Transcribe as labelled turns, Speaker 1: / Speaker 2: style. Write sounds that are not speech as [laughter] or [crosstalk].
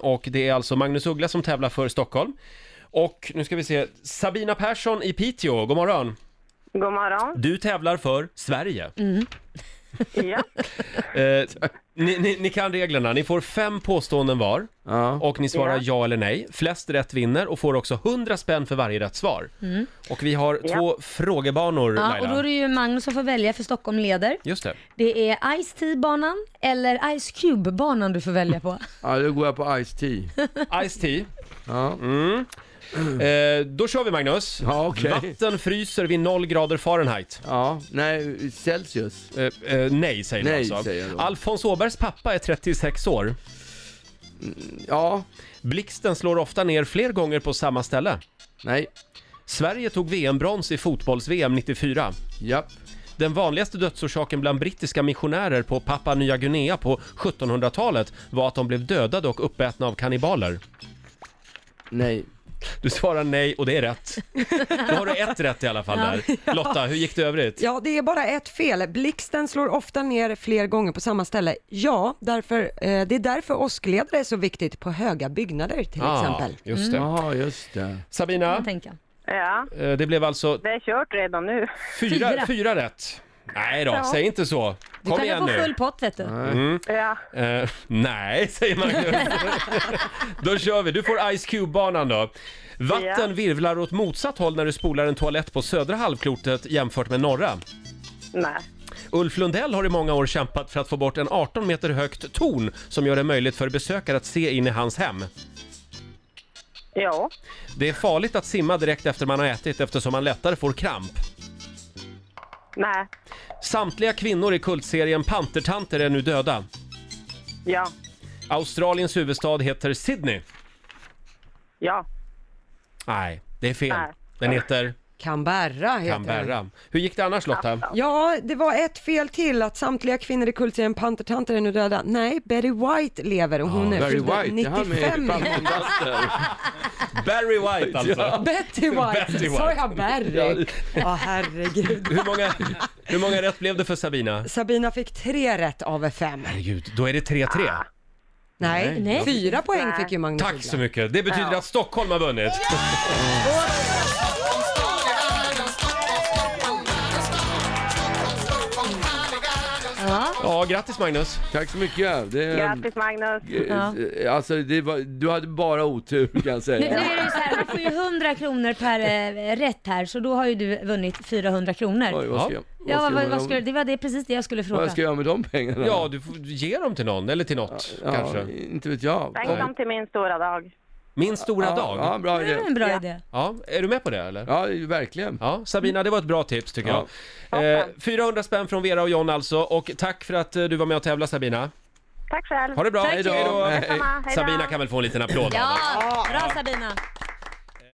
Speaker 1: och det är alltså Magnus Uggla som tävlar för Stockholm. Och nu ska vi se, Sabina Persson i Piteå, god morgon.
Speaker 2: God morgon.
Speaker 1: Du tävlar för Sverige.
Speaker 3: Mm.
Speaker 2: Ja.
Speaker 1: Eh, ni, ni, ni kan reglerna, ni får fem påståenden var
Speaker 4: Ja.
Speaker 1: och ni svarar
Speaker 2: Ja.
Speaker 1: ja eller nej. Flest rätt vinner och får också 100 spänn för varje rätt svar. Och vi har
Speaker 2: Ja.
Speaker 1: två frågebanor
Speaker 3: Mm. Ja, och
Speaker 1: Laila.
Speaker 3: då är det ju Magnus som får välja för Stockholm leder.
Speaker 1: Just det.
Speaker 3: Det är Ice-T-banan eller Ice Cube-banan du får välja på.
Speaker 4: ja, då går jag på Ice-T.
Speaker 1: Ice-T.
Speaker 4: Ja. mm,
Speaker 1: Eh, då kör vi Magnus.
Speaker 4: Ja, okej.
Speaker 1: Vatten fryser vid 0 grader Fahrenheit.
Speaker 4: ja, nej, Celsius.
Speaker 1: Eh, eh, nej säger
Speaker 4: Nej,
Speaker 1: du alltså.
Speaker 4: säger jag då.
Speaker 1: Alfons Åbergs pappa är 36 år.
Speaker 4: Ja,
Speaker 1: Blixten slår ofta ner fler gånger på samma ställe.
Speaker 4: nej,
Speaker 1: Sverige tog VM-brons i fotbolls-VM 94.
Speaker 4: japp.
Speaker 1: Den vanligaste dödsorsaken bland brittiska missionärer på Papua Nya Guinea på 1700-talet var att de blev dödade och uppätna av kannibaler.
Speaker 4: Nej.
Speaker 1: Du svarar nej och det är rätt. Då har du ett rätt i alla fall där. Lotta, hur gick det i övrigt?
Speaker 5: Ja, det är bara ett fel. Blixten slår ofta ner fler gånger på samma ställe. Ja, därför, eh, det är därför åskledare är så viktigt på höga byggnader till exempel.
Speaker 1: Ah, just det.
Speaker 4: Jaha, just det.
Speaker 1: Sabina,
Speaker 3: Jag tänker.
Speaker 2: ja,
Speaker 1: eh, det blev alltså
Speaker 2: det är kört redan nu.
Speaker 1: fyra, fyra.
Speaker 3: Fyra.
Speaker 1: rätt. Nej då,
Speaker 2: Ja.
Speaker 1: säg inte så.
Speaker 3: Du
Speaker 1: Kom
Speaker 3: kan
Speaker 1: igen
Speaker 3: ju få
Speaker 1: nu.
Speaker 3: full pott vet du.
Speaker 2: Ja.
Speaker 1: Eh, [laughs] nej, säger
Speaker 2: [laughs]
Speaker 1: Magnus. då kör vi. Du får Ice Cube-banan då. Vatten
Speaker 2: Ja.
Speaker 1: virvlar åt motsatt håll när du spolar en toalett på södra halvklotet jämfört med norra.
Speaker 2: Nej.
Speaker 1: Ulf Lundell har i många år kämpat för att få bort en 18 meter högt torn som gör det möjligt för besökare att se in i hans hem.
Speaker 2: Ja.
Speaker 1: Det är farligt att simma direkt efter man har ätit eftersom man lättare får kramp.
Speaker 2: Nej.
Speaker 1: Samtliga kvinnor i kultserien Pantertanter är nu döda.
Speaker 2: Ja.
Speaker 1: Australiens huvudstad heter Sydney.
Speaker 2: Ja.
Speaker 1: Nej, det är fel.
Speaker 2: Nej.
Speaker 1: Den heter
Speaker 5: Canberra heter det.
Speaker 1: Canberra. Hur gick det annars Lotta?
Speaker 5: Ja, det var ett fel till att samtliga kvinnor i kultserien Pantertanter är nu döda. Nej, Betty White lever och hon är
Speaker 4: Barry
Speaker 5: fyllde
Speaker 4: White, det är han med
Speaker 5: 95.
Speaker 1: [laughs]
Speaker 4: Pampon Duster.
Speaker 1: Barry White alltså.
Speaker 5: [laughs]
Speaker 1: Betty
Speaker 5: Betty White,
Speaker 1: White.
Speaker 5: sa jag Barry? Ja, herregud.
Speaker 1: Hur många, hur många rätt blev det för Sabina?
Speaker 5: Sabina fick tre rätt av fem.
Speaker 1: Herregud, då är det 3-3.
Speaker 5: Nej,
Speaker 3: Nej.
Speaker 5: fyra poäng
Speaker 2: Nej.
Speaker 5: fick ju Magnus
Speaker 1: Ah, Tack
Speaker 5: Uggla.
Speaker 1: så mycket. Det betyder att Stockholm har vunnit.
Speaker 3: Ja.
Speaker 1: Ja, grattis Magnus.
Speaker 4: Tack så mycket. Det,
Speaker 2: Grattis Magnus.
Speaker 1: Mm.
Speaker 4: Ja. Alltså, det var, du hade bara otur kan jag
Speaker 3: Nu, nu
Speaker 4: säga.
Speaker 3: är det ju så här, du får ju 100 kronor per eh, rätt här, så då har ju du vunnit 400
Speaker 4: Oj,
Speaker 3: kronor.
Speaker 4: vad ska jag,
Speaker 3: Ja, vad,
Speaker 4: jag
Speaker 3: vad,
Speaker 4: göra
Speaker 3: vad
Speaker 4: med
Speaker 3: skulle,
Speaker 4: dem?
Speaker 3: det var det, precis det jag skulle
Speaker 4: Vad
Speaker 3: fråga.
Speaker 4: ska jag göra med de pengarna?
Speaker 1: Ja, du får ge dem till någon, eller till något
Speaker 4: Ja,
Speaker 1: kanske.
Speaker 4: Inte vet jag.
Speaker 2: Tänk dem till min stora dag.
Speaker 1: Min stora
Speaker 4: ja, Ja,
Speaker 1: dag.
Speaker 4: bra
Speaker 3: Det var en
Speaker 4: idé.
Speaker 3: bra idé.
Speaker 1: Ja, är du med på det eller?
Speaker 4: Ja, verkligen.
Speaker 1: Ja, Sabina, det var ett bra tips tycker
Speaker 4: Ja.
Speaker 1: jag. Eh, 400 spänn från Vera och John alltså, och tack för att eh, du var med och tävlade Sabina.
Speaker 2: Tack själv.
Speaker 1: Ha det bra,
Speaker 3: Tack.
Speaker 1: Hej då. Eh,
Speaker 4: Hej.
Speaker 2: Detsamma. Hej då.
Speaker 1: Sabina kan väl få en liten applåd av
Speaker 3: Ja,
Speaker 1: oss.
Speaker 3: bra Sabina.